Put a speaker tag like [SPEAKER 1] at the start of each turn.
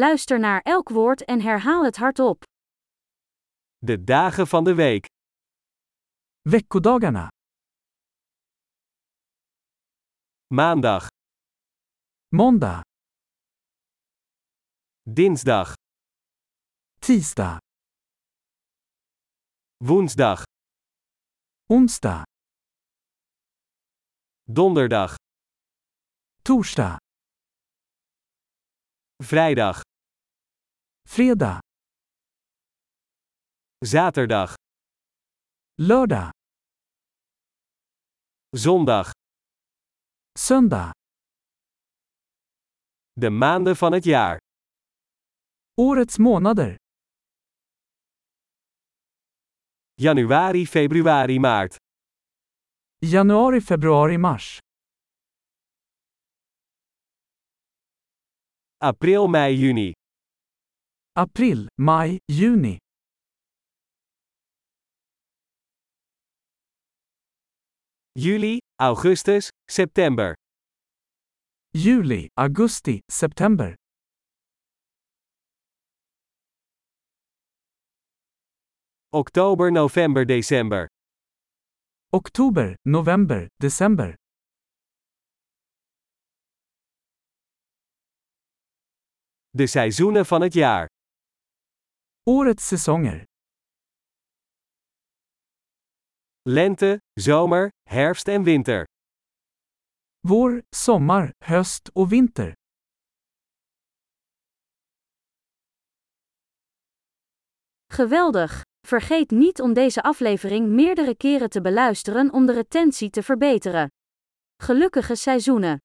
[SPEAKER 1] Luister naar elk woord en herhaal het hardop.
[SPEAKER 2] De dagen van de week.
[SPEAKER 3] Veckodagarna.
[SPEAKER 2] Maandag,
[SPEAKER 3] Måndag,
[SPEAKER 2] dinsdag,
[SPEAKER 3] tisdag,
[SPEAKER 2] woensdag,
[SPEAKER 3] onsdag,
[SPEAKER 2] donderdag,
[SPEAKER 3] torsdag,
[SPEAKER 2] vrijdag,
[SPEAKER 3] fredag,
[SPEAKER 2] zaterdag,
[SPEAKER 3] lördag,
[SPEAKER 2] zondag.
[SPEAKER 3] söndag,
[SPEAKER 2] De maanden van het jaar.
[SPEAKER 3] årets månader.
[SPEAKER 2] Januari, februari, maart.
[SPEAKER 3] Januari, februari, mars.
[SPEAKER 2] April, mei, juni.
[SPEAKER 3] April, maj, juni.
[SPEAKER 2] Juli, augustus, september.
[SPEAKER 3] Juli, augusti, september.
[SPEAKER 2] Oktober, november, december.
[SPEAKER 3] Oktober, november, december.
[SPEAKER 2] De seizoenen van het jaar.
[SPEAKER 3] Årets säsonger.
[SPEAKER 2] Lente, zomer, herfst en winter.
[SPEAKER 3] Vår, sommar, höst och vinter.
[SPEAKER 1] Geweldig! Vergeet niet om deze aflevering meerdere keren te beluisteren om de retentie te verbeteren. Gelukkige seizoenen!